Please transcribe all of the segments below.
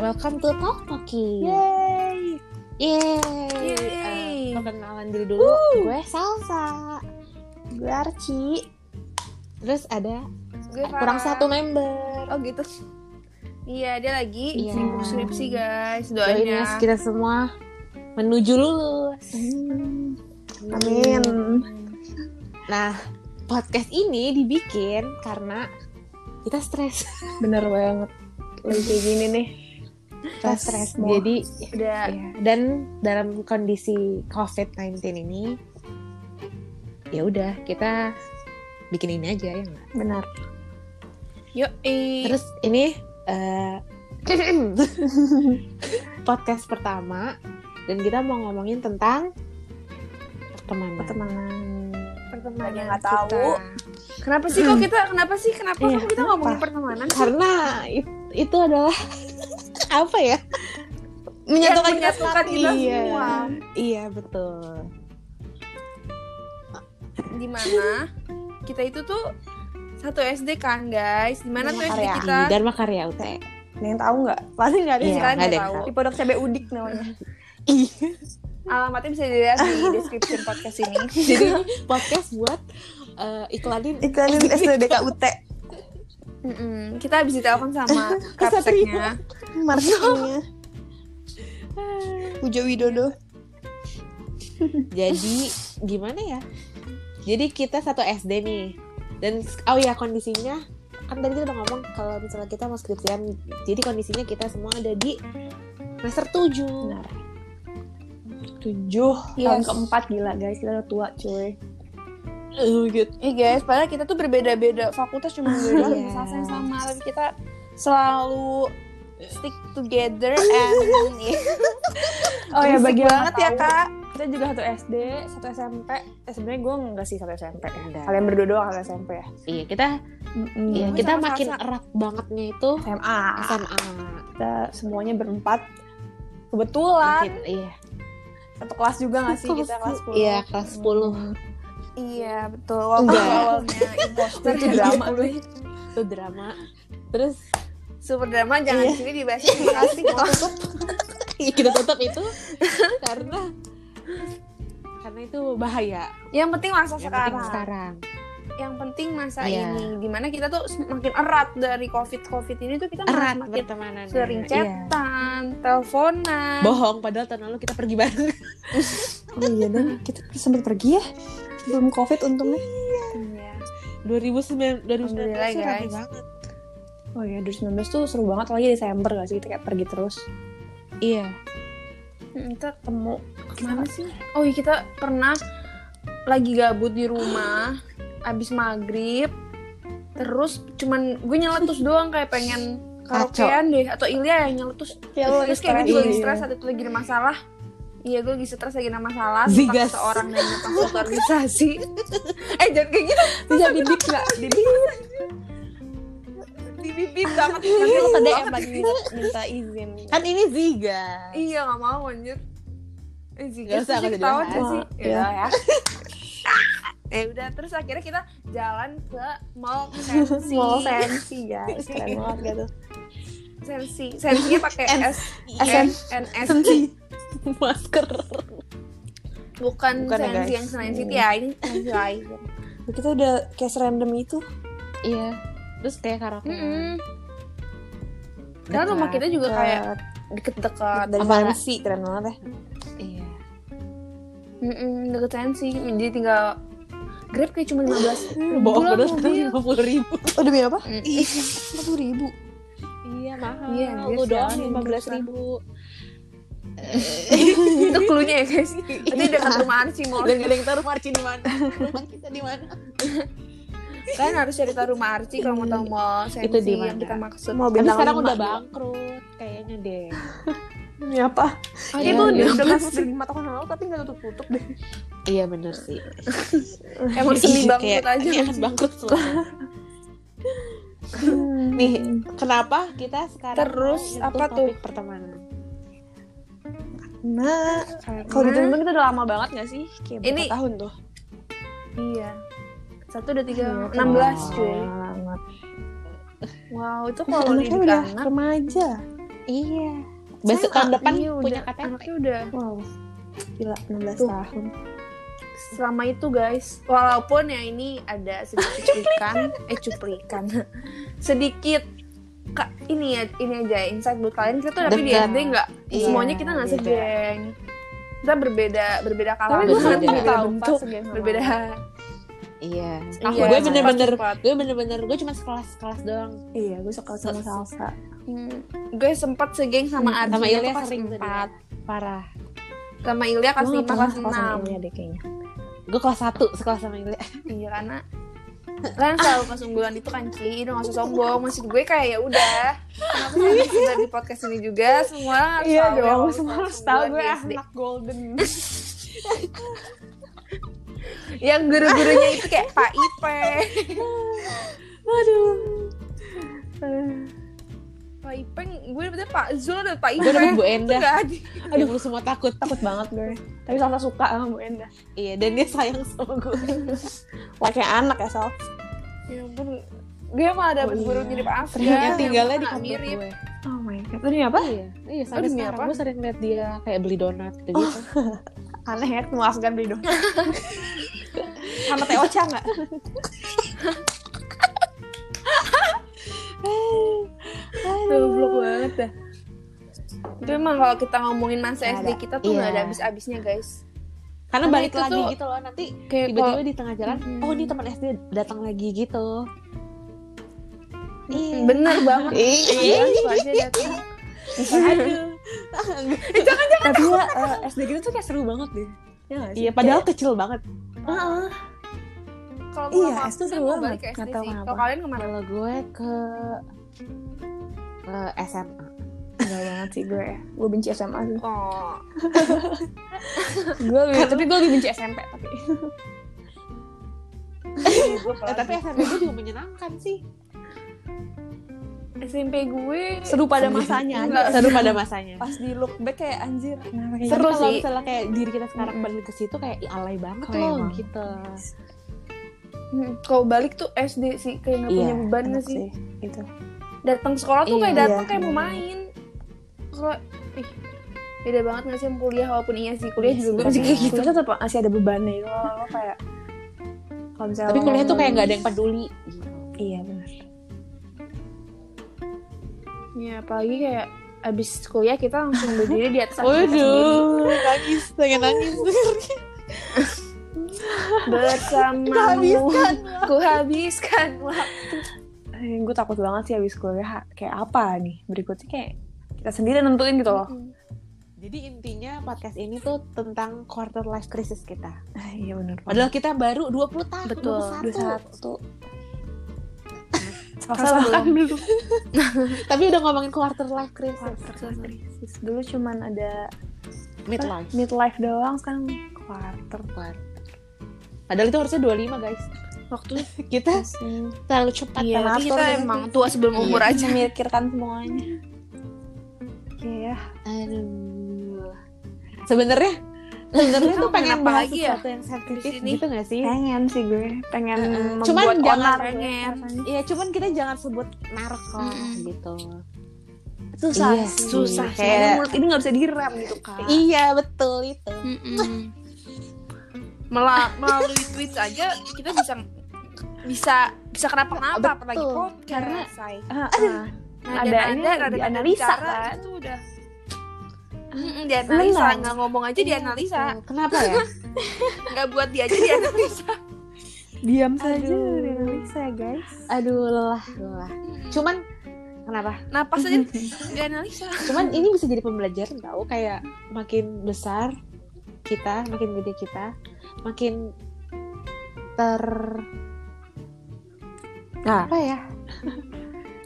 welcome to Talk Talkie. Yeay. Yeay. Yeay. Eh, perkenalan diri dulu. Woo. Gue Salsa. Gue Arci. Terus ada Gue kurang Farah. satu member. Oh gitu. Iya, dia lagi Iya. sibuk skripsi, guys. Doain Doain ya ya. kita semua menuju lulus. Mm-hmm. Amin. Nah, podcast ini dibikin karena kita stres. Bener banget. Lagi kayak gini nih. Kita stres. Jadi Udah Ya, dan dalam kondisi COVID-19 ini ya udah kita bikin ini aja ya nggak? benar. Yo, Terus ini eh, podcast pertama dan kita mau ngomongin tentang pertemanan. pertemanan. Pertemanan Banyak yang nggak tahu. Kenapa sih kok kita kenapa sih kenapa Iya, kok kita kenapa? ngomongin pertemanan? sih? Karena it- itu adalah apa ya? Menyatukan Yang kita semua. iya. Iya betul. Dimana kita itu tuh satu SD kan, guys. Dimana tuh Iya. SD Area. kita? Dharma Karya UT. Ada yang tahu nggak? Pasti nggak ada Iya, sih kan? nggak ada yang tahu. Di pondok cabe udik namanya. Iya. Alamatnya bisa dilihat di description podcast ini. Jadi podcast buat eh, iklanin Iklanin SDDKUT. Mm-mm. Kita habis ditelepon sama Kesatria. kapseknya. Marketingnya. Pujo Widodo. Jadi gimana ya? Jadi kita satu SD nih. Dan oh ya kondisinya kan tadi kita udah ngomong kalau misalnya kita mau skripsian, jadi kondisinya kita semua ada di semester 7. Benar. Tujuh. Tahun keempat gila guys. Kita udah tua cuy. Eh, gitu. Iya guys, padahal kita tuh berbeda-beda fakultas cuma gue doang Iya. masalah yang sama, tapi kita selalu stick together and Oh ya Berisik bagi yang banget nggak ya tahu, kak. Kita juga satu SD, satu SMP. Eh, sebenarnya gue nggak sih satu SMP. ya. Kalian berdua doang satu SMP ya. Iya, kita iya, Sama kita Salsa. makin erat bangetnya itu SMA. SMA. Kita semuanya berempat. Kebetulan Makin, iya. satu kelas juga nggak sih kita kelas 10 Iya, kelas 10. Iya betul. Waktu Enggak. awalnya imposter Itu jadi drama dulu. Itu drama. Terus Super drama jangan Iya. sini dibahas terima kasih. kita tutup itu karena karena itu bahaya. Yang penting masa Yang penting sekarang. sekarang. Yang penting masa Iya. ini. Dimana kita tuh makin erat dari covid covid ini tuh kita malah erat Iya. makin Iya. pertemanan sering chatan, teleponan. bohong padahal tahun lalu kita pergi bareng Oh iya dan kita sempat pergi ya belum covid untungnya. Iya. 2009 2019 Alhamdulillah, tuh rame guys. banget Oh iya 2019 tuh seru banget lagi Desember gak sih kita kayak pergi terus iya Mm, Kita temu kemana sih? Oh iya kita pernah lagi gabut di rumah, abis maghrib, terus cuman gue nyeletus doang kayak pengen karaokean deh atau Ilya yang nyeletus. Ya, lu lagi terus kayak gue juga lagi stres. stres, ada tuh lagi ada masalah. Iya gue lagi stres lagi ada masalah Zigas. tentang seorang yang tentang suatu organisasi. eh jangan kayak gitu, bisa bibit gak? Bibit dibibit sama temen nanti lu ke DM banget. lagi minta, minta izin. kan ini Ziga Iya gak mau anjir. Eh Gak usah, Zigas sih gak usah ketahuan dibahas. sih. Wah, Ya, ya. Eh udah terus akhirnya kita jalan ke mall sensi. Mall sensi ya, keren banget gitu. sensi. Sensinya pakai N- S SM. N S masker bukan, Bukan ya, sensi guys. yang Senayan City ya ini sensi lain. Kita udah kayak serandom itu. iya terus kayak karaoke Mm-mm. Karena rumah kita juga kayak deket-dekat Nah, dari Apalagi- sensi keren banget ya. iya Mm-mm, deket sensi. Jadi tinggal Grab kayak cuma 15 ribu bohong lah padahal mobil. lima puluh ribu Oh demi apa? Mm. Ih, puluh ribu. iya mahal Iya, anjir, lu doang sialan, lima belas ribu itu cluenya ya guys. Berarti dekat rumah Arci mall. dan gak ada yang tahu rumah Arci di mana rumah kita di mana Kalian harus cari tahu rumah Arci kalau mau tahu mall sensi Itu di yang mana? kita maksud. Mau tapi bintang sekarang lima udah juga. bangkrut kayaknya deh Demi apa? Oh, Iya, itu udah iya. udah masuk lima tahun yang lalu tapi nggak tutup tutup deh. iya bener sih Emang Iya, seni bangkrut kayak, aja. ini akan bangkrut semua. Nih, kenapa kita sekarang Terus, mau nyentuh apa tuh? topik pertemanan? Nah, kalau Karena- ditemuin kita udah lama banget nggak sih? Kayak berapa Ini- tahun tuh? Iya. Satu udah tiga, Iya, enam belas wow. cuy. Lama. Wow, itu Nah, kalau di anaknya udah anak remaja. Iya. Besok SMA, tahun depan iya, punya udah- KTP. Anaknya udah Wow. Gila, 16 Tuh. tahun. selama itu guys. Walaupun ya ini ada sedikit cuplikan, eh cuplikan. sedikit Kak, ini ya, ini aja insight buat kalian kita tuh tapi di Dekat. SD nggak Iya, semuanya kita nggak beda. segeng kita berbeda berbeda Tapi kalangan gue Berbeda. kan berbeda, berbeda bentuk bentuk, berbeda Iya. Aku gue bener-bener, sempat- gue bener-bener, gue cuma sekelas kelas doang. Iya, gue suka sama salsa. Hmm, gue sempat segeng sama Hmm, Ardi sama itu Ilya kelas sering Oh, tuh empat. Parah. sama Ilya kelas Gue lima pernah kelas suka sama enam Ilya deh kayaknya. Gue kelas satu sekelas sama Ilya. iya karena kalian selalu kelas unggulan itu kan Ci udah gak usah sombong maksud gue kayak ya udah kenapa sih harus kita di podcast ini juga semua harus Iya tahu dong, kalau semua kelas harus tahu unggulan gue di SD. anak golden. yang guru-gurunya itu kayak Pak Ipe Waduh. Pak Ipe gue udah Pak Zul ada Pak Ipe Gue udah Bu Endah. Enggak ada. Aduh, lu semua takut. Takut banget gue. Tapi salsa suka sama Bu Endah. Iya, dan dia sayang sama Iya, gue. Wah, kayak anak ya, Sal. ya ampun dia malah ada Oh, iya. guru mirip Afgan Yang tinggalnya di nggak kantor mirip gue. Oh my god. Ini apa? Iya, iya sampai Aduh, demi sekarang apa? Oh. gue sering liat dia kayak beli donat gitu. gitu. Aneh ya, ketemu Afgan beli dong. sama Teh Ocha nggak? Goblok banget dah. Itu emang kalau kita ngomongin masa Nggak SD ada. kita tuh nggak Iya. ada habis-habisnya guys. Karena Karena balik itu lagi tuh gitu loh nanti Kayak tiba-tiba di tengah jalan, Mhm. oh ini teman SD datang lagi gitu. kalau- Iya. bener banget. Iya. Aja datang. Iya. Aduh. Tapi ya, eh, SD gitu tuh kayak seru banget deh. Ya nggak sih? Iya, padahal kecil banget. Heeh. Kalau Iya, gua SD seru mau gua banget. balik ke Nggak SD tahu sih. kenapa. Kalau kalian kemana? Kalau gue ke eh, ke SMA. Enggak banget sih gue. Gue benci SMA sih. Oh, Gue lebih- tapi gue lebih benci SMP tapi. Eh, tapi SMA gue juga menyenangkan sih. SMP gue Seru pada Seru. masanya aja. Enggak. Seru pada masanya. Pas di look back kayak anjir. Kenapa kayak gitu? Seru Tapi kalau sih. misalnya kayak diri kita sekarang Mm-mm. balik ke situ kayak "Ih, alay banget Alay loh banget. gitu. Hmm, kalau balik tuh SD sih kayak nggak Iya, punya beban Enak nggak sih. Gitu. Datang sekolah tuh Iya. kayak datang Iya. kayak mau main. Kalau ih, beda banget nggak sih sama kuliah walaupun iya sih kuliah Iya juga sih, gue masih kayak gitu. Kuliah tetap masih ada bebannya gitu. Lo, lo kayak kalau misalnya Tapi lo- kuliah tuh kayak nggak ada yang peduli. Iya benar. Ya, apalagi kayak abis kuliah kita langsung berdiri di atas angkasa sendiri. Waduh, nangis, pengen nangis. bersamamu ku habiskan Eh, gue takut banget sih habis kuliah ha- kayak apa nih berikutnya kayak kita sendiri yang nentuin gitu loh. Jadi intinya podcast ini tuh tentang quarter life crisis kita. Eh, iya benar. Padahal kita baru 20 tahun, Betul, 21. satu. Salah. Salah kan belum. Tapi udah ngomongin quarter life crisis, Dulu cuman ada midlife. midlife doang sekarang quarter. Padahal itu harusnya 25, guys. waktu Kita terlalu cepat iya terlalu tapi atur kita dengan emang tua sebelum umur Iya. aja memikirkan semuanya. Iya. tuh. Aduh. Sebenarnya sebenarnya tuh Ngomongin pengen apa bahas lagi ya? sesuatu yang sensitif Di sini. gitu gak sih? Pengen sih gue, pengen Heeh. membuat Cuman jangan onar gue pengen. rasanya. Iya, cuman kita jangan sebut merek lah, Mm-mm. gitu. Susah, Iya sih. sih, susah sih. Soalnya kayak mulut ini nggak bisa direm gitu kan. Iya, betul itu. Mm-mm. Mela- melalui tweet aja kita bisa bisa bisa kenapa kenapa Betul, apalagi podcast karena say. Nah, Heeh. ada ini dianalisa, kan? Ah, itu udah Mm-mm, dianalisa Benar. nggak ngomong aja dianalisa Betul. Kenapa ya? nggak buat dia aja dianalisa Diam saja, Aduh. dianalisa guys. Aduh, lelah, lelah. Cuman kenapa? napas aja dianalisa cuman ini bisa jadi pembelajaran tau kayak makin besar kita makin gede kita makin ter Nah. apa ya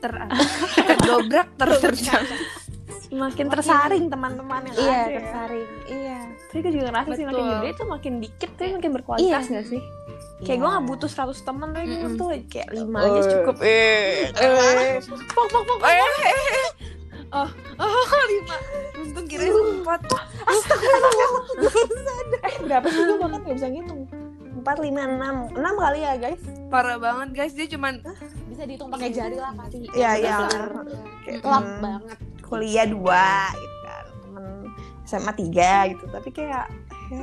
ter terdobrak ter terjang Makin tersaring teman-teman yang iya ada. ya. tersaring iya Tapi gue juga ngerasa sih makin Betul. gede tuh makin dikit tapi makin berkualitas Iya. nggak sih? Kayak Iya. gue gak butuh 100 temen tapi gue Mm-mm. butuh kayak 5 aja cukup. eh eh pok pok pok eh oh oh lima untung kira Uh. empat Berapa sih gue bahkan gak bisa ngitung. 4, 5, 6. 6 kali ya guys. parah banget guys dia cuman bisa dihitung pakai jari lah pasti Iya, Hmm. iya. Bener. Kayak lap temen banget kuliah dua gitu kan temen SMA tiga gitu tapi kayak ya,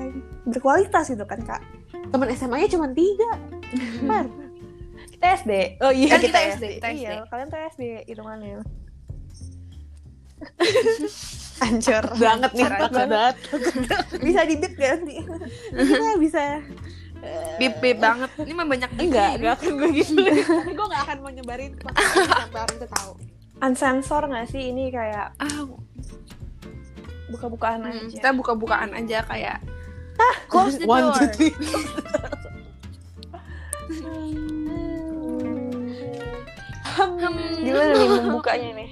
berkualitas gitu kan kak Temen SMA-nya cuma tiga. Par. kita SD Oh iya. Kan kita SD, kita iya SD. kalian tuh SD hitungannya ancur banget nih, Parah banget. banget. bisa dibit gak nanti Bisa, bisa. Bip bip banget. Ini mah banyak bip. Enggak, nih. enggak akan gue gitu. gue gak akan mau nyebarin makanan sampai orang itu tahu. unsensor gak sih ini kayak Ah, buka-bukaan hmm, aja kita buka-bukaan aja kayak close the One, door. two, three. Hmm. Gimana nih membukanya nih?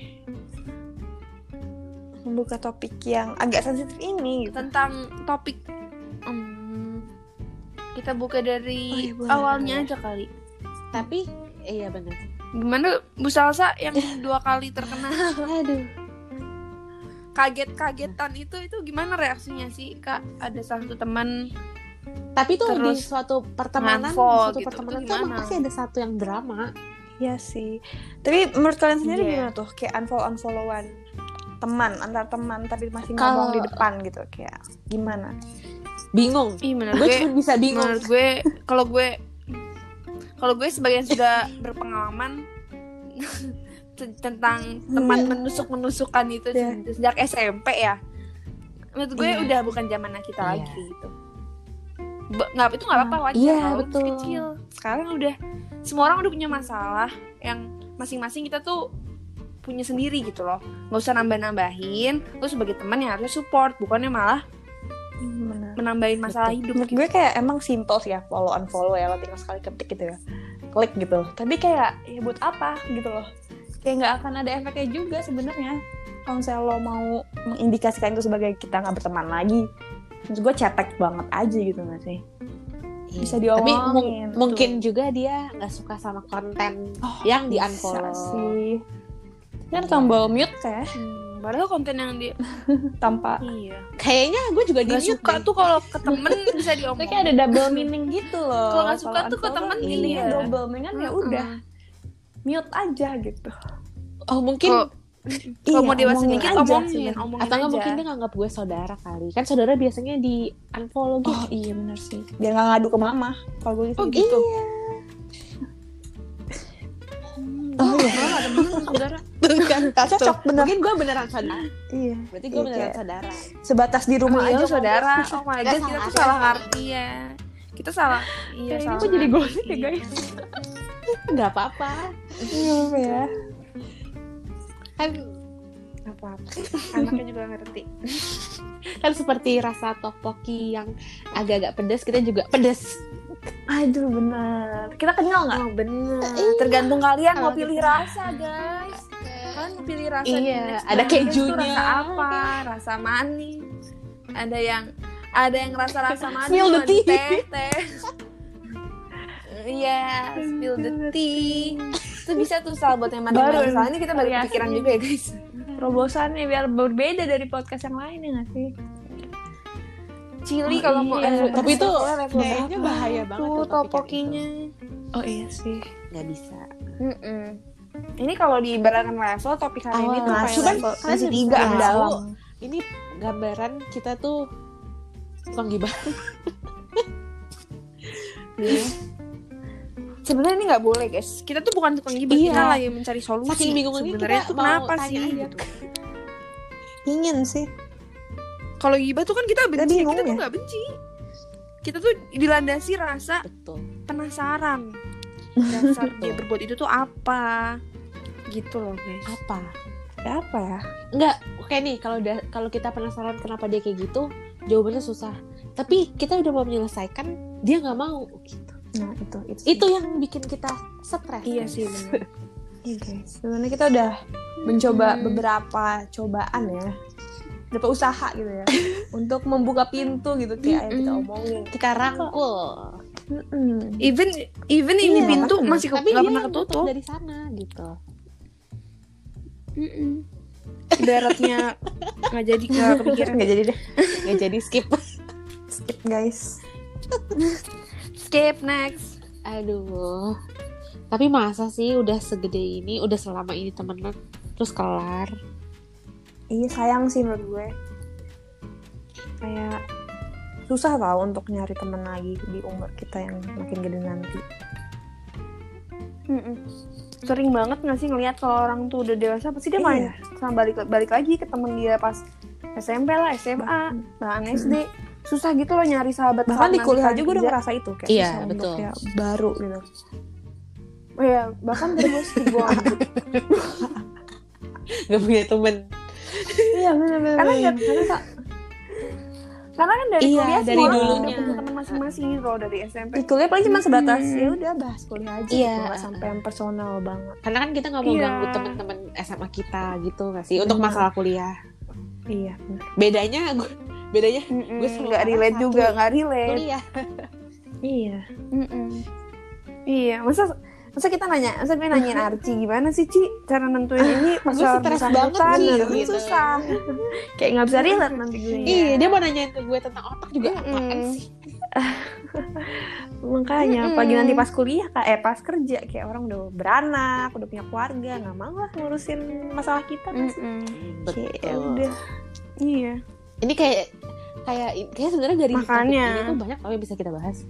Membuka topik yang agak sensitif ini gitu. tentang topik Hmm, kita buka Oh iya, dari boleh, awalnya boleh. aja kali Tapi iya benar. gimana Bu Salsa yang dua kali terkena Aduh. kaget-kagetan itu itu gimana reaksinya sih kak ada salah satu teman Tapi tuh di Terus suatu pertemanan, di nganfol suatu gitu, pertemanan itu tuh emang gimana? pasti ada satu yang drama. Iya sih. Tapi menurut kalian sendiri Iya. gimana tuh? Kayak unfollow unfollowan teman antar teman tapi masih Kalau- ngomong di depan gitu kayak gimana? Bingung. Ih, menurut Gue gue cuma bisa bingung. menurut gue kalau gue kalau gue sebagian sudah berpengalaman t- tentang teman menusuk menusukan itu Iya. se- sejak SMP ya menurut gue Iya. udah bukan zamannya kita Iya. lagi gitu Be- nggak itu nggak apa-apa wajar Iya, kalau betul. masih kecil sekarang udah semua orang udah punya masalah yang masing-masing kita tuh punya sendiri gitu loh nggak usah nambah-nambahin lu sebagai teman yang harusnya support bukannya malah Gimana? menambahin masalah hidup gitu. Menurut gue kayak emang simple sih ya follow unfollow ya lo tinggal sekali ketik gitu ya. Klik gitu. Tapi kayak ya buat apa gitu loh. Kayak nggak akan ada efeknya juga sebenarnya. Kalau misalnya lo mau mengindikasikan itu sebagai kita nggak berteman lagi, menurut gue cetek banget aja gitu nggak sih? Iya. bisa Tapi diomongin, mung- betul. mungkin juga dia nggak suka sama konten yang Oh, di Ya, Bisa unfollow. sih. Kan tombol mute kayak Hmm, padahal konten yang di tanpa iya Kayaknya gue juga di nggak mute suka deh. tuh kalau ke temen bisa diomongin Tapi kayak ada double meaning gitu loh. Kalau nggak suka tuh ke unfollow, temen gitu. Hmm. iya, iya. double meaning kan ya udah mute aja gitu. Oh mungkin Kalau- kalau mau dewasa omongin Iya, dikit aja omongin sebenarnya. omongin atau nggak aja. mungkin dia nganggap gue saudara kali. Kan saudara biasanya di unfollow gitu. Oh iya benar sih. Biar nggak ngadu ke mama. Kalau gue Oh, gitu. gitu. Iya. oh, malah ada temen saudara Tuh kan, iya. Ah, Cocok, tuh. bener. Mungkin gue beneran saudara. Iya. Berarti gue Iya, beneran kayak- saudara. Sebatas di rumah Iya, aja saudara oh Nggak my god kita salah, tuh salah nggak ngerti ya kita salah iya Kayak ini salah kok jadi ngerti. gosip ya, guys? Iya. Nggak apa-apa. ngobrol. Iya ya. Kan apa-apa anaknya juga ngerti kan seperti rasa topoki yang agak-agak pedas kita juga pedas. Aduh benar. Kita kenyal nggak? Eh, oh bener Iya. tergantung kalian Kalau mau gitu. pilih kita- rasa guys kan pilih rasa di Iya, next ada podcast tuh kejunya. rasa apa rasa manis ada yang ada yang rasa rasa manis Spill the ada tea. teh teh iya spill the tea itu bisa tuh salah buat yang Baru manis soalnya kita balik variasinya. pikiran juga ya guys Terobosannya ya, biar berbeda dari podcast yang lain ya nggak sih? cili Oh, kalau mau iya. level- Tapi itu level- level kayaknya berapa bahaya banget tuh tuh topik yang topokinya Oh iya sih. Nggak bisa. Mm-mm. ini kalau diibaratkan level topik hari ini Awal. tuh Nah, kayak cuman level- kalian nasi bisa tiga tahu. mendalam Ini gambaran kita tuh tukang gibah. sebenarnya ini nggak boleh guys kita tuh bukan tukang gibah Iya. kita lagi mencari solusi Saking bingungnya sebenarnya kita tuh mau kenapa tanya sih aja. gitu. Ingin sih. kalau gibah tuh kan kita Kita benci bingung kita tuh ya. nggak benci kita tuh dilandasi rasa Betul. penasaran dasar dia berbuat itu tuh apa gitu loh guys Apa? Ya, apa ya? Enggak, oke nih kalau da- kalau kita penasaran kenapa dia kayak gitu, jawabannya susah. Tapi kita udah mau menyelesaikan, dia nggak mau gitu. Nah itu itu. sih. Itu yang bikin kita stres. iya sih benar Iya guys, sebenarnya kita udah mencoba Hmm. beberapa cobaan ya, beberapa usaha gitu ya, untuk membuka pintu gitu kayak yang kita Mm-mm. omongin. Iya, Kita rangkul. Mm-mm. even even ini Iya, pintu makanya. masih ke- Tapi nggak dia pernah nutup ketutup dari sana gitu. Mm-mm. ibaratnya nggak jadi nggak kepikiran Nggak jadi deh, Nggak Ya jadi skip. skip guys. skip next Aduh. Tapi masa sih udah segede ini, udah selama ini temenan terus kelar. iya sayang sih menurut gue kayak susah tau untuk nyari temen lagi di umur kita yang makin gede nanti Mm-mm. Sering banget nggak sih ngelihat kalau orang tuh udah dewasa pasti Iya. dia main sama balik balik lagi ke temen dia pas SMP lah, SMA, bahkan SD. Susah gitu loh nyari sahabat bahkan di saat kuliah nanti juga udah kerja. ngerasa itu kayak Iya, susah untuk betul. kayak baru gitu Iya, bahkan dari gue sih gue lanjut. Gak punya temen. iya benar-benar Karena nggak- karena nggak- karena kan dari Iya, kuliah dari semua orang dulunya. udah punya teman masing-masing gitu loh dari SMP. di kuliah paling cuma sebatas Mm-mm. ya udah bahas kuliah aja Iya. gitu, nggak sampai yang personal banget Karena kan kita nggak mau Iya. ganggu teman-teman SMA kita gitu nggak sih? Untuk Bener. masalah kuliah. iya Bedanya gue bedanya Gue Gue selalu Hmm, nggak salah relate satu. juga, nggak relate. kuliah. iya Mm-mm. Iya, masa masa kita nanya, masa gue nanyain Arci gimana sih Ci cara nentuin ini pas Gue orang stres bisa banget, hutan?" Ci, Bener, gitu. susah. Kayak nggak bisa relate nanti gue. Iya, dia mau nanyain ke gue tentang otak juga Mm-mm. apaan sih? makanya Mm-mm. pagi nanti pas kuliah kak eh pas kerja kayak orang udah beranak udah punya keluarga nggak mau lah ngurusin masalah kita kan Mm-mm. Kayak ya Betul. udah Mm, Iya. Ini kayak kayak kayak sebenarnya dari topik Makanya. ini tuh banyak tau yang bisa kita bahas.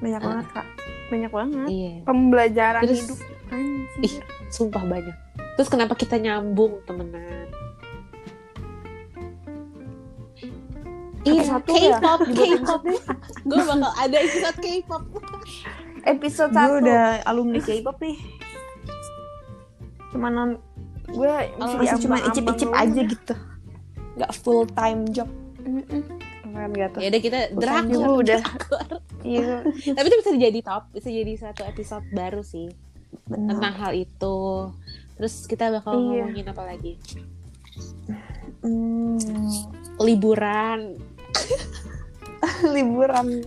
banyak banget kak Banyak banget. Iya. Pembelajaran Terus- hidup. Anjir. Ih, sumpah banyak. Terus kenapa kita nyambung temenan? Iya, satu ya? K-pop, K-pop. Gue bakal ada episode K-pop. Episode gue 1. udah alumni K-pop nih cuma non Gue Oh, masih cuma icip-icip aja gitu nggak full time job kan gitu Ya udah kita Drak drakor. dulu udah. Iya. Tapi itu bisa jadi top, bisa jadi satu episode baru sih benar tentang hal itu. Terus kita bakal Iya. ngomongin apa lagi? Hmm, Liburan. liburan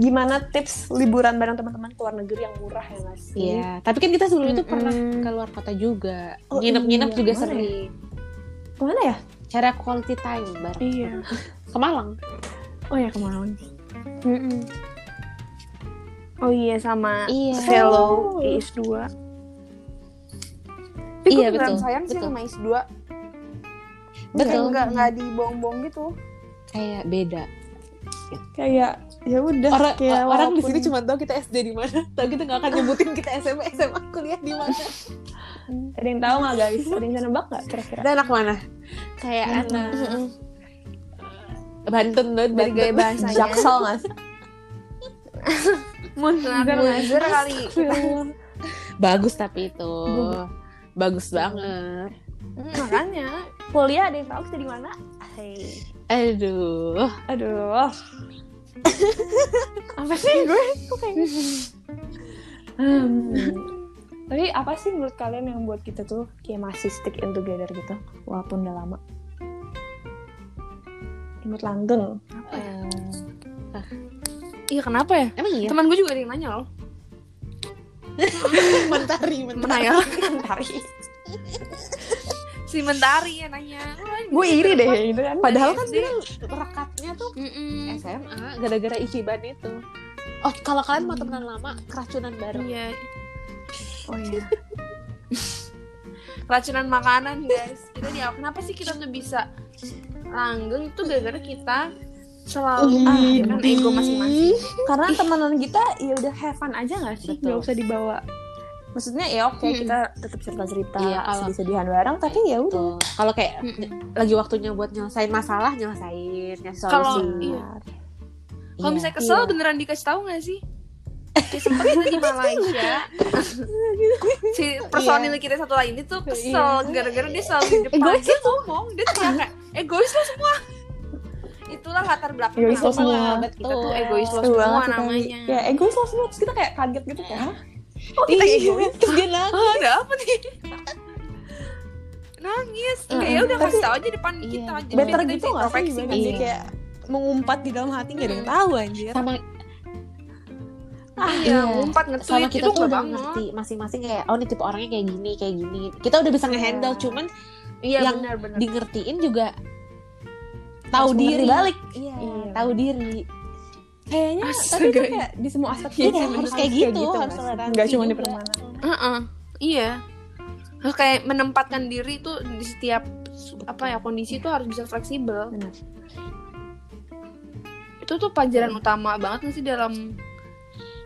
gimana tips liburan bareng teman-teman ke luar negeri yang murah ya nggak sih Iya, tapi kan kita sebelum itu Mm-mm. pernah keluar kota juga. Oh, Nginep-nginep iya. juga Mana ya? sering. kemana ya Cara quality time bareng. Iya. Ke Malang. oh ya kemana Mm-mm. Oh iya sama Iya. Velo Oh. IS 2. Tapi gue Iya, beneran betul, sayang sih betul. sama IS 2. Betul. Kayak nggak nggak dibohong-bohong gitu. Kayak beda. kayak ya udah orang kayak orang di walaupun- sini cuma tahu kita SD di mana tahu kita nggak akan nyebutin kita SMA SMA kuliah di mana ada yang tahu nggak guys ada yang bisa nebak nggak kira-kira kita anak mana kayak Iya. anak Banten tuh Dari gaya bahasanya. jaksel nggak sih Munzer Iya. Munzer kali. bagus tapi itu bagus banget Mm, Makanya. kuliah ada yang tahu kita di mana Hei. aduh aduh apa sih gue Kok kayak- gitu? Hmm. tapi apa sih menurut kalian yang buat kita tuh kayak masih stick in together gitu walaupun udah lama imut langgeng ya? Hmm. Eh, Iya kenapa ya? emang iya Teman gue juga ada yang nanya loh. mentari mentari Menanya. Mentari. si Mentari ya nanya. gue iri deh gitu kan padahal kan SD. dia rekatnya tuh Mm-mm. SMA gara-gara ikiban itu oh kalau kalian mau temenan lama keracunan bareng Iya. oh iya Racunan makanan guys. Kita dia kenapa sih kita tuh bisa langgeng itu gara-gara kita selalu ah, ya kan ego masing-masing. karena temenan kita ya udah have fun aja nggak sih Betul. nggak usah dibawa maksudnya ya oke Hmm. kita tetap cerita cerita Iya, kalau- sedih-sedihan bareng tapi ya udah Tuh. Gitu. Kalau kayak Mm-mm. lagi waktunya buat nyelesain masalah, nyelesain, nyari solusi. Kalau- iya. Benar. Kalau Iya. misalnya kesel Iya. beneran dikasih tahu nggak sih? Kayak sempet kita di Malaysia Si Iya. personil kita satu lain itu kesel Gara-gara dia selalu di depan Egois Dia ngomong, dia teriak kayak Egois lo semua Itulah latar belakang Iya. Egois lo kenapa semua. sahabat Kita tuh egois lo Seru semua banget kita. namanya ya egois lo semua terus kita kayak kaget gitu kayak "Hah? Oh, kita iya. egois. Terus dia nangis. Oh, ada apa nih? Nangis. Kayak Mm-mm. ya udah kasih Tapi- tahu aja depan iya. kita. Jadi better kita gitu nggak sih introspeksi kan dibanding Iya. Hmm. dia kayak mengumpat di dalam hati nggak ada yang tahu anjir Sama Iya, Iya. ngumpat sama nge-tweet itu kita tuh nggak udah banget. ngerti masing-masing kayak oh ini tipe orangnya kayak gini, kayak gini. Kita udah bisa ngehandle Iya. cuman Iya, Yang benar-benar. digertiin juga tahu Harus mengerti diri. balik Iya, Iya. tahu diri. kayaknya tapi Astaga. tuh kayak di semua aspek Iya, hidup harus bener. kayak gitu, nggak harus sih? toleransi nggak cuma di juga. pertemanan Iya. Heeh. Iya. Harus kayak menempatkan diri tuh di setiap apa ya kondisi tuh harus bisa fleksibel. Benar. Itu tuh pelajaran utama banget nggak sih dalam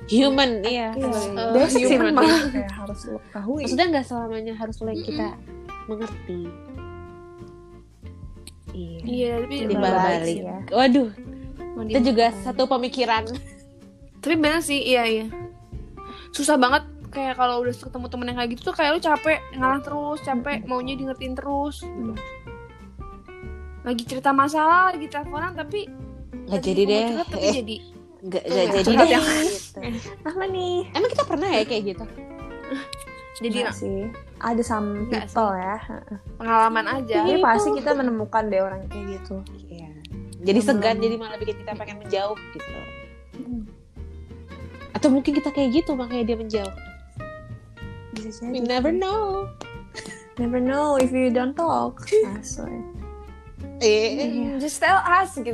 human iya Eh, basic sih human menurut banget. gue. Kayak harus lo ketahui maksudnya nggak selamanya harus lo yang kita mengerti iya Iya, tapi timbal balik Iya. ya. waduh Mandi- itu juga satu pemikiran Tapi bener sih, iya iya. Susah banget kayak kalau udah ketemu temen yang kayak gitu tuh kayak lu capek ngalah terus, capek maunya di ngertiin terus. Lagi cerita masalah, lagi teleponan tapi nggak lagi jadi deh curhat, tapi eh jadi nggak nggak Iya, jadi curhat ya. deh yang- Gitu. apa nih emang kita pernah ya kayak gitu jadi Nggak sih ada some Nggak people ya pengalaman aja. tapi Iya, pasti itu. kita menemukan deh orang kayak gitu Iya. jadi Yang segan belum- jadi malah bikin kita pengen menjauh gitu atau mungkin kita kayak gitu makanya dia menjauh bisa we jadi never know never know if you don't talk Ah, Asli. eh Mm, Just tell us gitu.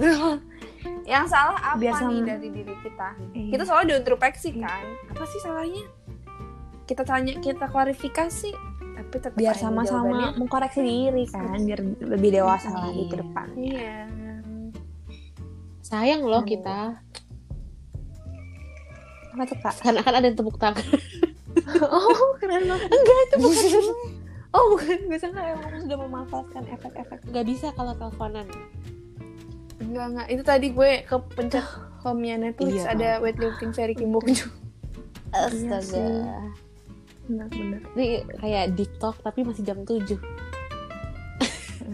Yang salah apa Biar sama. nih dari diri kita? Iya. Kita selalu diintrospeksi Mm. kan. Apa sih salahnya? Kita tanya, kita klarifikasi, tapi tetap biar aja sama-sama jawabannya. mengkoreksi diri kan biar lebih dewasa lagi ke Iya. depan Iya. sayang loh kita apa tuh kak karena kan ada yang tepuk tangan oh keren banget enggak itu bukan oh bukan gue sangka emang kamu sudah memanfaatkan efek-efek nggak bisa kalau teleponan Enggak, enggak. Itu tadi gue kepencet home-nya Iya, Netflix ada weightlifting seri Kim Bok Joon. sih. astaga benar-benar ini Iya kayak deep talk tapi masih jam 7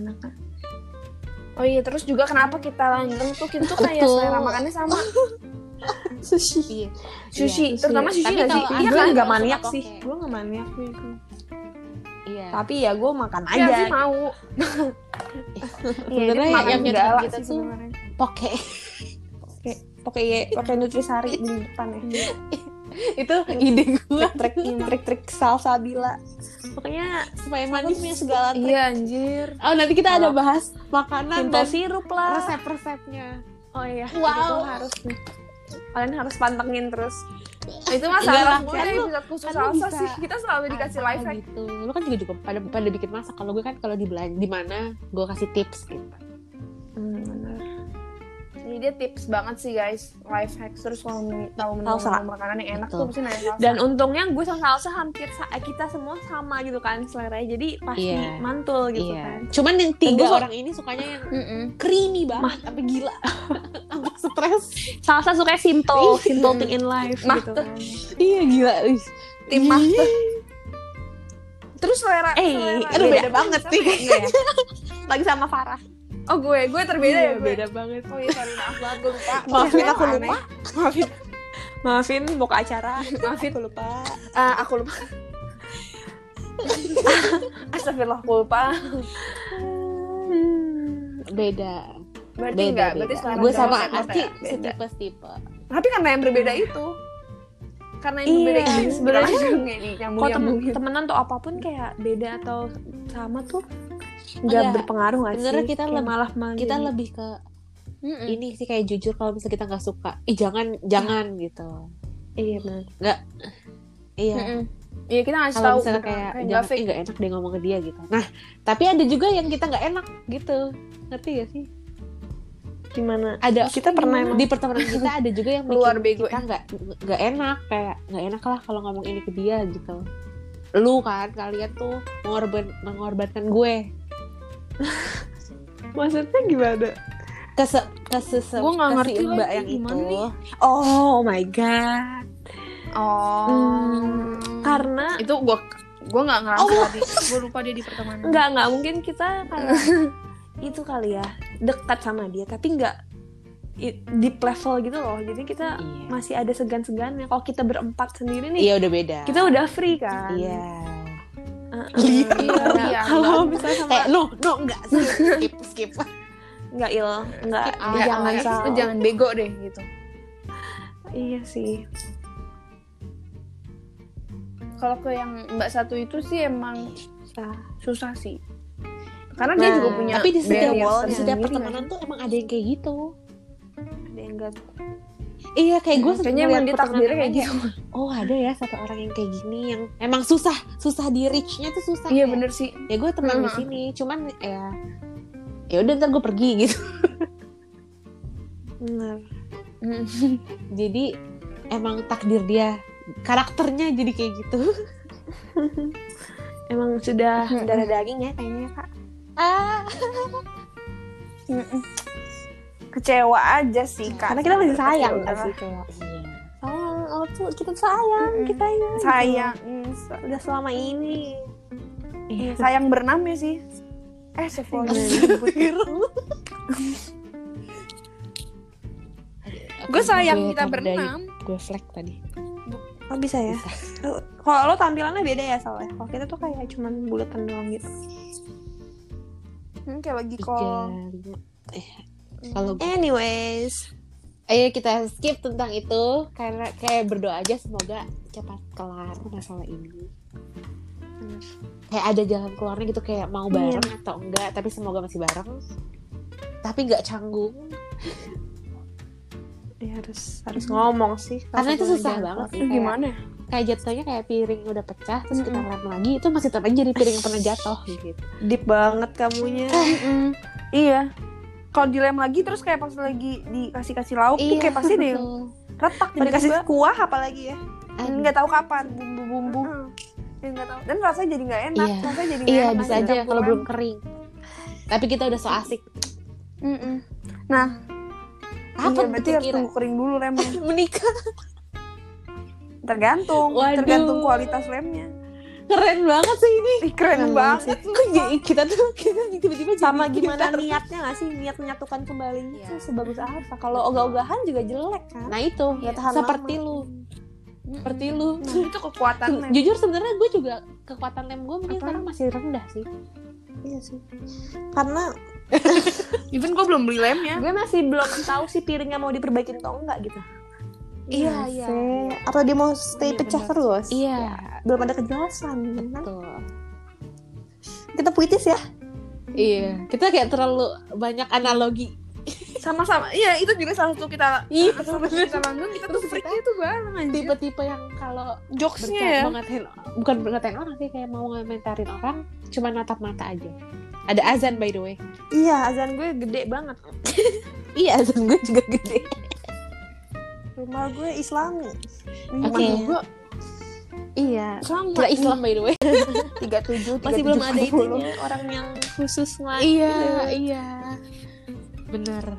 enak kan Oh iya, terus juga kenapa kita langgeng tuh kita tuh kayak Betul. selera makannya sama sushi iya sushi, sushi. terutama sushi Tapi nggak sih? kalau aku Iya kan? gue nggak Suka maniak sih poke. gue nggak maniak iya tapi ya gue makan Iya aja ya sih mau. Iya, Sebenarnya dia makan yang nyuruh galak kita sih tuh- sebenarnya. poke pakai pakai nutrisari di depan ya Iya. Iya. itu ide gue trik trik trik salsa bila pokoknya supaya aku manis punya segala trik Iya anjir. oh nanti kita ada bahas makanan Tinta dan sirup lah resep-resepnya oh iya gitu Wow. itu tuh harus kalian harus pantengin terus Itu Enggak lah, masalah gue kan lu- episode khusus kan lu salsa bisa- sih. Kita selalu dikasih Apa life hack. gitu lu kan juga juga pada pada bikin masak kalau gue kan kalau di belan di mana gue kasih tips gitu Ini dia tips banget sih guys, life hacks terus kalau mau tahu menu Salsa. menu makanan yang enak Betul. tuh pasti nanya salsa. dan untungnya gue sama salsa hampir sa- kita semua sama gitu kan seleranya jadi pasti Iya. mantul gitu kan cuman yang tiga gua so- orang ini sukanya yang Mm-mm. creamy banget sampai gila sampai stres salsa suka Ih. simple simple thing in life Mah, gitu tuh. kan iya gila Iya. ih. Tim master. Terus selera, eh selera aduh, beda banget sama sih. ya? Enggak ya? lagi sama Farah Oh gue, gue terbeda Iya, ya gue. beda banget Oh iya, sorry maaf banget gue lupa. Maafin, Gue aku aneh. lupa. maafin maafin mau ke acara maafin aku lupa Ah, aku lupa. Astagfirullah, aku lupa. Hmm. beda Berarti beda, enggak, beda. berarti selera gue enggak sama Iya. sama Asti kayak beda. Iya. setipe tipe Tapi karena yang berbeda itu. Karena yang Iya, berbeda itu sebenarnya makanya. nggak di nyambung kalau temen, nyambung gitu. temenan tuh apapun kayak beda atau sama tuh Enggak. nggak berpengaruh nggak Beneran sih kita Kayak lebih- malah kita menjadi- lebih ke Hmm. Mm-mm. ini sih kayak jujur kalau misalnya kita nggak suka ih jangan jangan gitu iya bener iya Mm-mm. Iya kita ngasih tahu kalau misalnya gitu. kayak nggak jangan fake. "Ih, nggak enak deh ngomong ke dia gitu nah tapi ada juga yang kita nggak enak gitu ngerti gak sih gimana ada Hmm, kita pernah emang di pertemanan kita ada juga yang Luar bikin bego. ya. kita nggak nggak enak kayak nggak enak lah kalau ngomong ini ke dia gitu lu kan kalian tuh mengorban mengorbankan gue maksudnya gimana ke se ke sese- Gue nggak ke si ngerti mbak lagi yang gimana itu Iya. nih. oh my god Oh. Hmm. karena itu gue gue nggak ngerasa Oh. tadi gue lupa dia di pertemanan nggak nggak mungkin kita karena itu kali ya dekat sama dia tapi nggak i- deep level gitu loh jadi kita Iya. masih ada segan-segannya kalau kita berempat sendiri nih iya udah beda kita udah free kan iya Iya. Iya, kalau nggak. misalnya sama kayak no no nggak skip skip skip nggak il nggak Ah, jangan ah, salah lu jangan bego deh gitu iya sih kalau ke yang mbak satu itu sih emang Ah. susah sih karena dia Nah, juga punya tapi di setiap barriers di setiap tersendiri pertemanan tuh emang ada yang kayak gitu ada yang nggak Iya kayak gue kayaknya emang dia takdirnya kayak gitu. Oh ada ya satu orang yang kayak gini yang emang susah susah di reach-nya tuh susah. kayak, Iya bener sih. Ya gue tenang di Mm-mm. sini, cuman ya ya udah ntar gue pergi gitu. Bener. Jadi emang takdir dia karakternya jadi kayak gitu. emang sudah Mm-mm. darah daging ya kayaknya kak. Ah, Mm-mm. Kecewa aja sih kak. karena kita masih sayang Kecewa. kan sih kayak. Iya. Sayang, oh tuh kita sayang, Mm-mm. kita ya. Sayang, mm, sa- udah selama ini iya, sayang bernama ya sih. Eh, Sephora. Iya. Gue Iya, sayang kita bernam. gue flag tadi Oh bisa ya. Lu- Kalau lo tampilannya beda ya soalnya. Kalau kita tuh kayak cuman buletan doang gitu. Hmm, kayak lagi tiga call. lima. Iya, eh kalau Anyways, ayo kita skip tentang itu karena kayak berdoa aja semoga cepat kelar masalah ini kayak ada jalan keluarnya gitu kayak mau bareng atau enggak tapi semoga masih bareng tapi nggak canggung ya harus harus ngomong sih. Karena itu susah banget sih, kayak- Gimana? ya? kayak jatuhnya kayak piring udah pecah terus kita Mm-mm. lem lagi itu masih tetap aja jadi piring yang pernah jatuh gitu Deep banget kamunya. Mm-mm. iya. Kalau dilem lagi terus kayak pas lagi dikasih-kasih lauk tuh kayak pasti deh betul. retak Kalau dikasih tiba-tiba. kuah apalagi ya. Aduh. Nggak tahu kapan bumbu-bumbu. Dan nggak tahu. Dan rasanya jadi nggak enak. Iya. Rasanya jadi nggak Iya enak, bisa ada aja kalau campuran. belum kering. Tapi kita udah so asik. Mm-mm. Iya, Kapan berarti kita harus kira tunggu kering dulu lemnya. menikah? Tergantung, Waduh. tergantung kualitas lemnya. Keren banget sih ini. Ih, keren Keren banget. banget. Kok jadi kita tuh kita tiba-tiba jadi Sama pintar. gimana niatnya gak sih? Niat menyatukan kembali Iya. itu sebagus apa? Kalau ogah-ogahan juga jelek kan? Nah itu Nggak tahan seperti lama. lu, seperti lu. Nah, itu kekuatan lem. Jujur sebenarnya gue juga kekuatan lem gue mungkin Apa? sekarang masih rendah sih. Iya sih. Karena Even gue belum beli lemnya. gue masih belum tahu sih piringnya mau diperbaikin atau enggak gitu. Iya, iya. sih. Atau dia mau stay Iya, pecah benar. terus? Iya. Belum ada kejelasan. kan? Betul. Kita puitis ya. Iya. Kita kayak terlalu banyak analogi. Sama-sama. Iya, itu juga salah satu kita Iya, sama kita manggung kita tuh Terus freak kita itu bareng anjir. Tipe-tipe yang kalau jokesnya berkat ya. mengatain bukan mengatain orang sih kayak mau ngomentarin orang cuma natap mata aja ada azan by the way Iya, azan gue gede banget. iya azan gue juga gede Rumah gue Islami. Oke. Gue iya sama. Pura Islam by the way tiga tujuh Masih belum ada itunya, orang yang khusus lah iya iya bener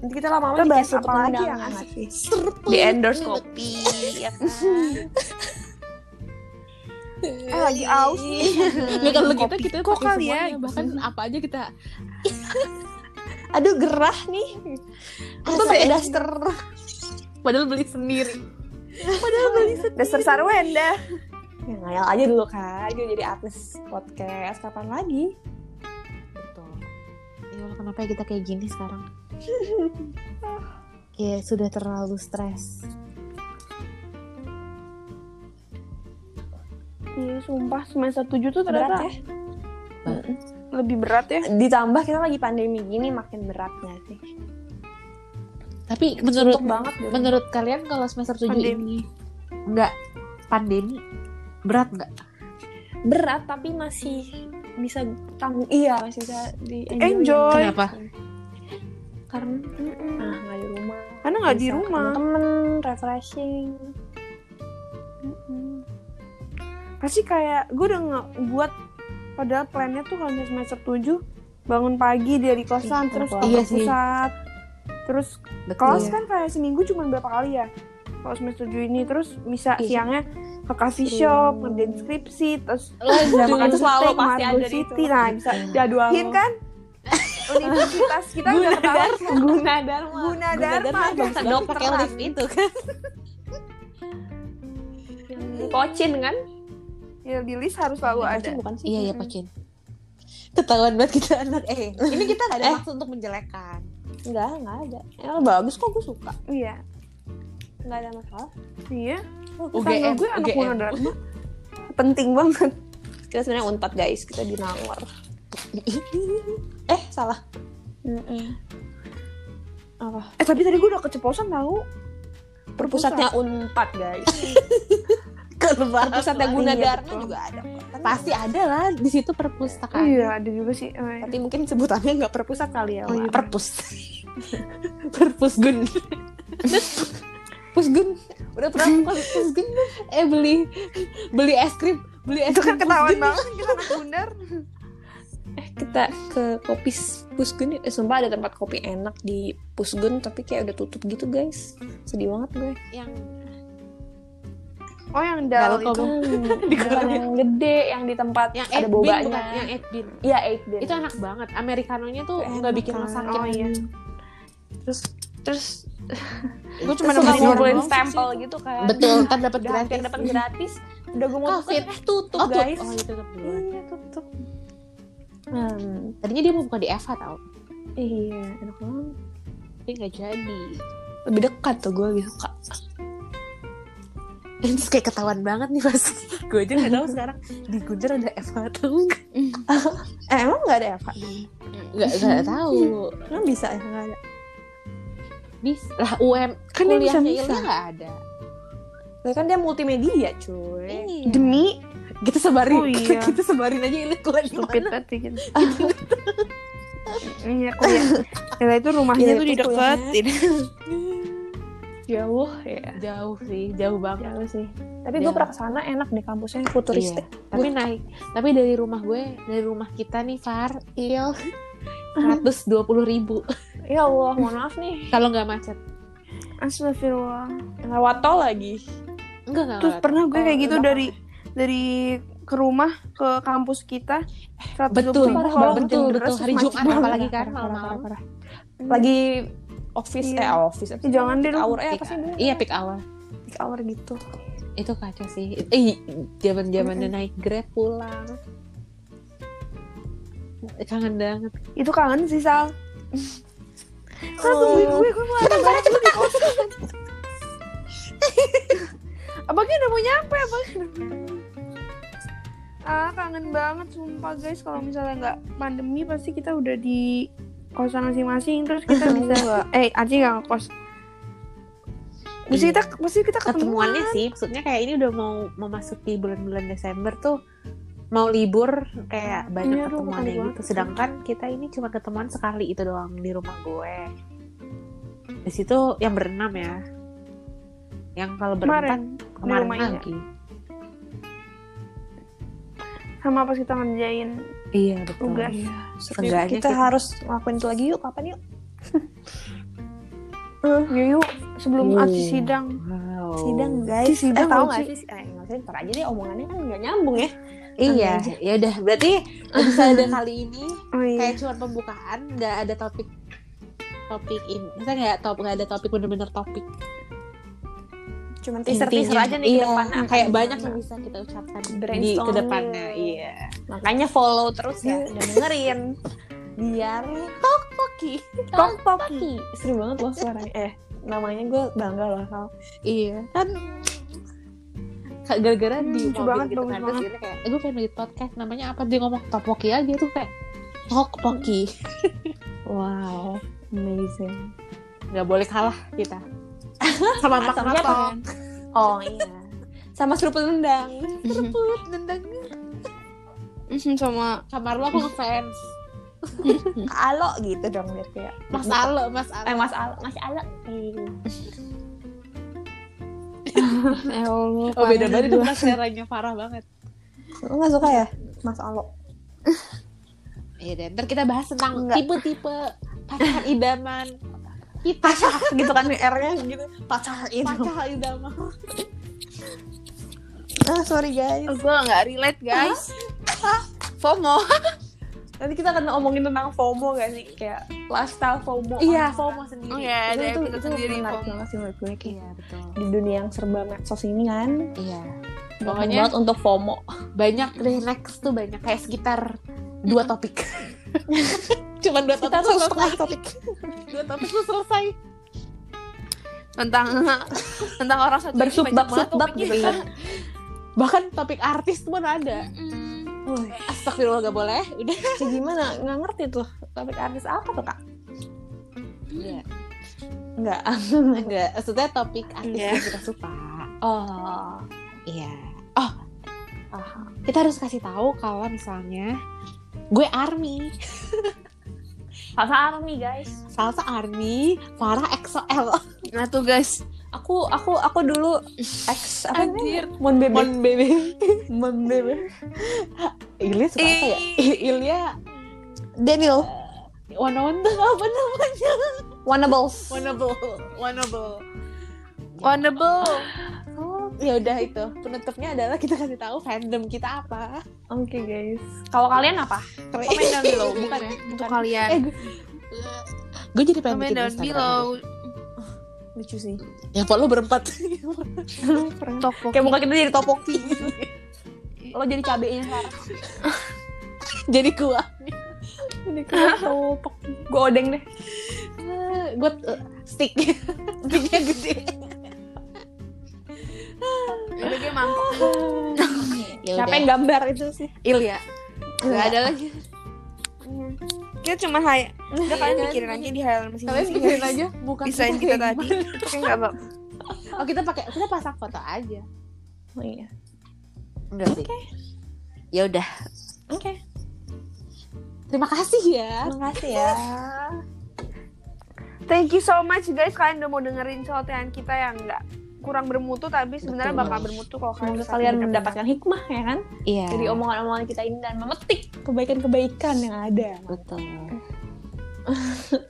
nanti kita lama-lama Kita bahas bikin apa lagi yang perundangan. asik sih Serpuk Di endorse banget. kopi. ya kan? eh lagi aus nih Ya kalau kita Kopi kita kok pakai kali ya, semuanya. gitu. bahkan apa aja kita aduh gerah nih Apa ya? atau pakai sih? daster padahal beli sendiri daster sarwenda ya ngayal aja dulu kan gue jadi artis podcast kapan lagi betul ya Allah kenapa ya kita kayak gini sekarang ya sudah terlalu stres Iya, sumpah semester 7 tuh berat ternyata ya lebih berat ya. ditambah kita lagi pandemi gini makin beratnya sih tapi menurut suntuk banget gitu. Menurut kalian kalau semester 7 ini Pandemi. nggak pandemi berat nggak? berat tapi masih bisa tanggung iya masih bisa di Enjoy. Kenapa? karena Mm-mm. ah nggak di rumah Karena nggak di Bisa rumah. ketemu temen refreshing Pasti kayak gue udah ngebuat padahal plannya tuh kalau semester 7 bangun pagi dari kosan Ih, terus kenapa? ke Iya sih. Iya. pusat. Terus kelas Betul. kan kayak seminggu cuma berapa kali ya? Kalau semester 7 ini terus bisa Iya. siangnya ke coffee Seru. shop, ngerjain skripsi, terus Lanjut. udah makan Itu selalu steak, pasti Marble ada di City. itu. Nah, bisa jadwalin Hin kan universitas kita udah ketahuan guna dharma guna Gunadarma, dharma bagus banget pakai lift itu kan. kocin kan ya di list harus selalu ada Kocin bukan sih Iya ya pakin. Ketahuan banget kita anak eh. Ini kita nggak ada Eh. maksud untuk menjelekkan. enggak enggak ada ya, bagus kok gue suka iya enggak ada masalah iya UGM, UGM gue Kan anak UGM. guna dharma penting banget Iya. kita sebenarnya unpad guys kita di nangor eh salah Apa? Eh tapi tadi gue udah keceplosan tau. Perpusatnya Unpad, guys. Perpustakaan Iya, Gunadarma betul. juga ada. kok. Pasti ada lah di situ perpustakaan. Iya ada juga sih. eh. Tapi mungkin sebutannya nggak perpusat kali ya. Oh, Wak. iya. Perpus. Perpusgun. Pusgun. Udah pernah kali Pusgun? Eh beli beli es krim, beli es Itu kan krim. ketahuan Pusgun. banget kita anak bundar. Eh, kita ke kopi S- Pusgun yuk. Eh, sumpah ada tempat kopi enak di Pusgun tapi kayak udah tutup gitu, guys. Sedih banget gue. yang Oh yang dal Dal itu. Kobo. Hmm, Bukan yang gede, ya? yang di tempat yang ada ada bobanya. yang eight bean. Iya, eight bean. Itu enak banget. Americanonya tuh Enak nggak bikin lo kan. sakit. Oh iya. Terus terus Gue cuma nemuin Terus cuma nggak ngumpulin ngumpulin doang stempel gitu kan. Betul, ntar dapat Udah hampir gratis. dapat gratis. Udah gue mau Covid. tutup, eh tutup, Oh, tuh. guys. Oh, itu tuh duluan. Iya, tutup. Hmm, Tadinya dia mau buka di Eva tau. iya, enak banget. Tapi nggak jadi. Lebih dekat tuh gue gitu, Kak. Ini terus kayak ketahuan banget nih pas gue aja nggak tahu sekarang di Gunjar ada Eva atau enggak. Eh, emang nggak ada ya, Kak? Nggak nggak tahu. Emang bisa ya? Nggak ada. Bisa lah UM Kan dia bisa kuliahnya bisa. Ilda nggak ada. Lah, kan dia multimedia, cuy. Iya. Demi Kita sebarin, Oh, iya. kita sebarin aja Ilda kuliah di stupid mana. banget sih gitu. Iya kuliah. Kita itu ya. rumahnya Iya, tuh itu di deketin. Jauh ya. Jauh sih, jauh banget. Jauh sih. Tapi gue Jauh. pernah kesana enak deh kampusnya futuristik. Tapi naik, tapi dari rumah gue, dari rumah kita nih Far, Il, 120 ribu Ya Allah, mohon maaf nih. kalau nggak macet. Astagfirullah. Lewat tol lagi. Enggak enggak. Terus pernah gue Oh, kayak gitu udah dari dari ke rumah ke kampus kita 120 Betul, ribu, parah kalau banget. Betul, hujan deras, betul. terus Hari macet Jumat banget. apalagi kan Parah, parah, malam-malam. parah, parah. Lagi office Iya. eh office. apa sih? Jangan deh, Peak lu. hour eh apa Peak sih dulu? Iya peak hour. Peak hour gitu. Itu kacau sih. Eh, zaman-zamannya naik Grab pulang. Kangen banget. itu kangen sih Sal iya. Sal Oh. tungguin gue gue mau ada barang cepet abangnya udah mau nyampe abang ah kangen banget sumpah guys kalau misalnya nggak pandemi pasti kita udah di kosan masing-masing terus kita bisa eh Aci nggak ngekos Mesti Iya. kita pasti kita ketemuan Ketemuannya sih, maksudnya kayak ini udah mau memasuki bulan-bulan Desember tuh mau libur kayak banyak Iya, aduh, ketemuannya bukan gitu. banget. Sedangkan kita ini cuma ketemuan sekali itu doang di rumah gue. Di situ yang berenam ya. Yang kalau berempat kemarin di kemarin rumah Ina. lagi. sama pas kita ngerjain Iya, betul. tugas Seenggaknya kita, kita- harus ngelakuin itu lagi yuk. Kapan yuk? Yuyu sebelum Wow. Aci sidang Wow. Sidang guys. sidang, eh, tahu Ci. nggak sih? Eh, nggak usah ntar aja deh omongannya kan nggak nyambung ya. Iya, Aja. ya udah berarti episode kali ini oh, iya. kayak cuma pembukaan, nggak ada topik topik ini. Maksudnya nggak top, nggak ada topik bener-bener topik. Cuman teaser-teaser Intinya. aja nih iya, ke depannya. Kayak banyak yang bisa kita ucapkan di Brainstorm. ke depannya. Iya. Makanya follow terus Iya, ya dan dengerin. Biar Oke. Pok Poki. Seru banget loh suaranya. Eh, namanya gue bangga loh kalau Iya. Kan kayak gara-gara di Hmm, lucu mobil banget, gitu bagus kan terus banget. dia kayak, eh, gue pengen bikin podcast namanya apa dia ngomong topoki aja tuh kayak tokpoki. Wow, amazing. Nggak boleh kalah kita. Sama mak Sama Tok. siapa kan? Oh iya. Sama seruput rendang. Seruput, nendang. sama Kamar lo aku ngefans. Alo gitu dong biar kayak. Mas Alo, Mas Alo. Eh Mas Alo, Mas Alo. Eh. ya Allah Oh beda parah. banget itu seleranya parah banget. Lu nggak suka ya? Mas Alo. Iya deh, ntar kita bahas tentang Enggak. tipe-tipe pacar idaman. Kita gitu kan R-nya gitu. Pacar itu. pacar idaman. Ah, sorry guys. gue nggak relate guys FOMO Nanti kita akan ngomongin tentang FOMO gak sih? Kayak lifestyle FOMO. Iya, FOMO. FOMO sendiri. oh ya ada Itu, itu, episode sendiri menarik FOMO banget sih menurut gue kayak Iya, betul. di dunia yang serba medsos ini kan Iya. gampang Pokoknya- banget untuk FOMO Banyak deh next tuh banyak kayak sekitar dua topik. Cuman Hmm. dua kita topik harus selesai. setengah topik Dua topik tuh selesai. tentang tentang orang satu ini Bersubab-subab banyak banget topiknya. gitu ya. Bahkan topik artis pun ada. Mm-mm. Wih, Astagfirullah gak boleh. Udah. kayak gimana? Nggak ngerti tuh topik artis apa tuh kak? Iya. Enggak. Enggak, maksudnya topik artis Iya. yang kita suka. Oh. Iya. Oh, Aha. kita harus kasih tahu kalau misalnya gue Army, Salsa Army guys. Salsa Army, Farah XOL, Nah tuh guys, Aku aku aku dulu ex apa namanya? Anjir. Mon bebe. Mon Bebe. Mon bebe. Ilya suka apa ya? Ih. Ilya Oh, Daniel. One One tuh apa namanya? Wannables. Wannable, Wannable. wonderful. Oh, ya udah itu. Penutupnya adalah kita kasih tahu fandom kita apa. Oke guys. Kalau kalian apa? Komen down below. Bukan ya? Untuk Bukan. kalian. Gue jadi pengen bikin Comment down Instagram. below. Lucu sih. Ya follow berempat. Toko. Kayak muka kita jadi topoki. Lo jadi cabenya sekarang. jadi gua. Jadi kayak topok. Gue odeng deh. gue eh, stick. Sticknya gede. Udah gue mangkok. Ya Siapa yang udah. gambar itu sih? Ilya. Gak ada lagi. Kita cuma hai. Udah kalian kan? Iya, pikirin aja di halaman masing Kalian pikirin aja bukan Desain kita tadi. Tapi nggak apa. Oh, kita pakai kita pasang foto aja. Oh, iya. Enggak sih. Ya udah. Oke. Terima kasih ya. Makasih ya. Thank you so much guys kalian udah mau dengerin celotehan kita yang nggak kurang bermutu tapi sebenarnya Betul. bakal bermutu kalau kalian Semoga bisa kalian dengerin. mendapatkan hikmah ya kan Iya. dari omongan-omongan kita ini dan memetik kebaikan-kebaikan yang ada. Betul.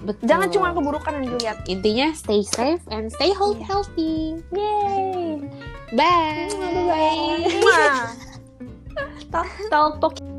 Betul. Jangan cuma keburukan yang dilihat. intinya stay safe and stay health Iya. healthy. Yeay. Bye. Bye. Mwah. Talk, talk, talk.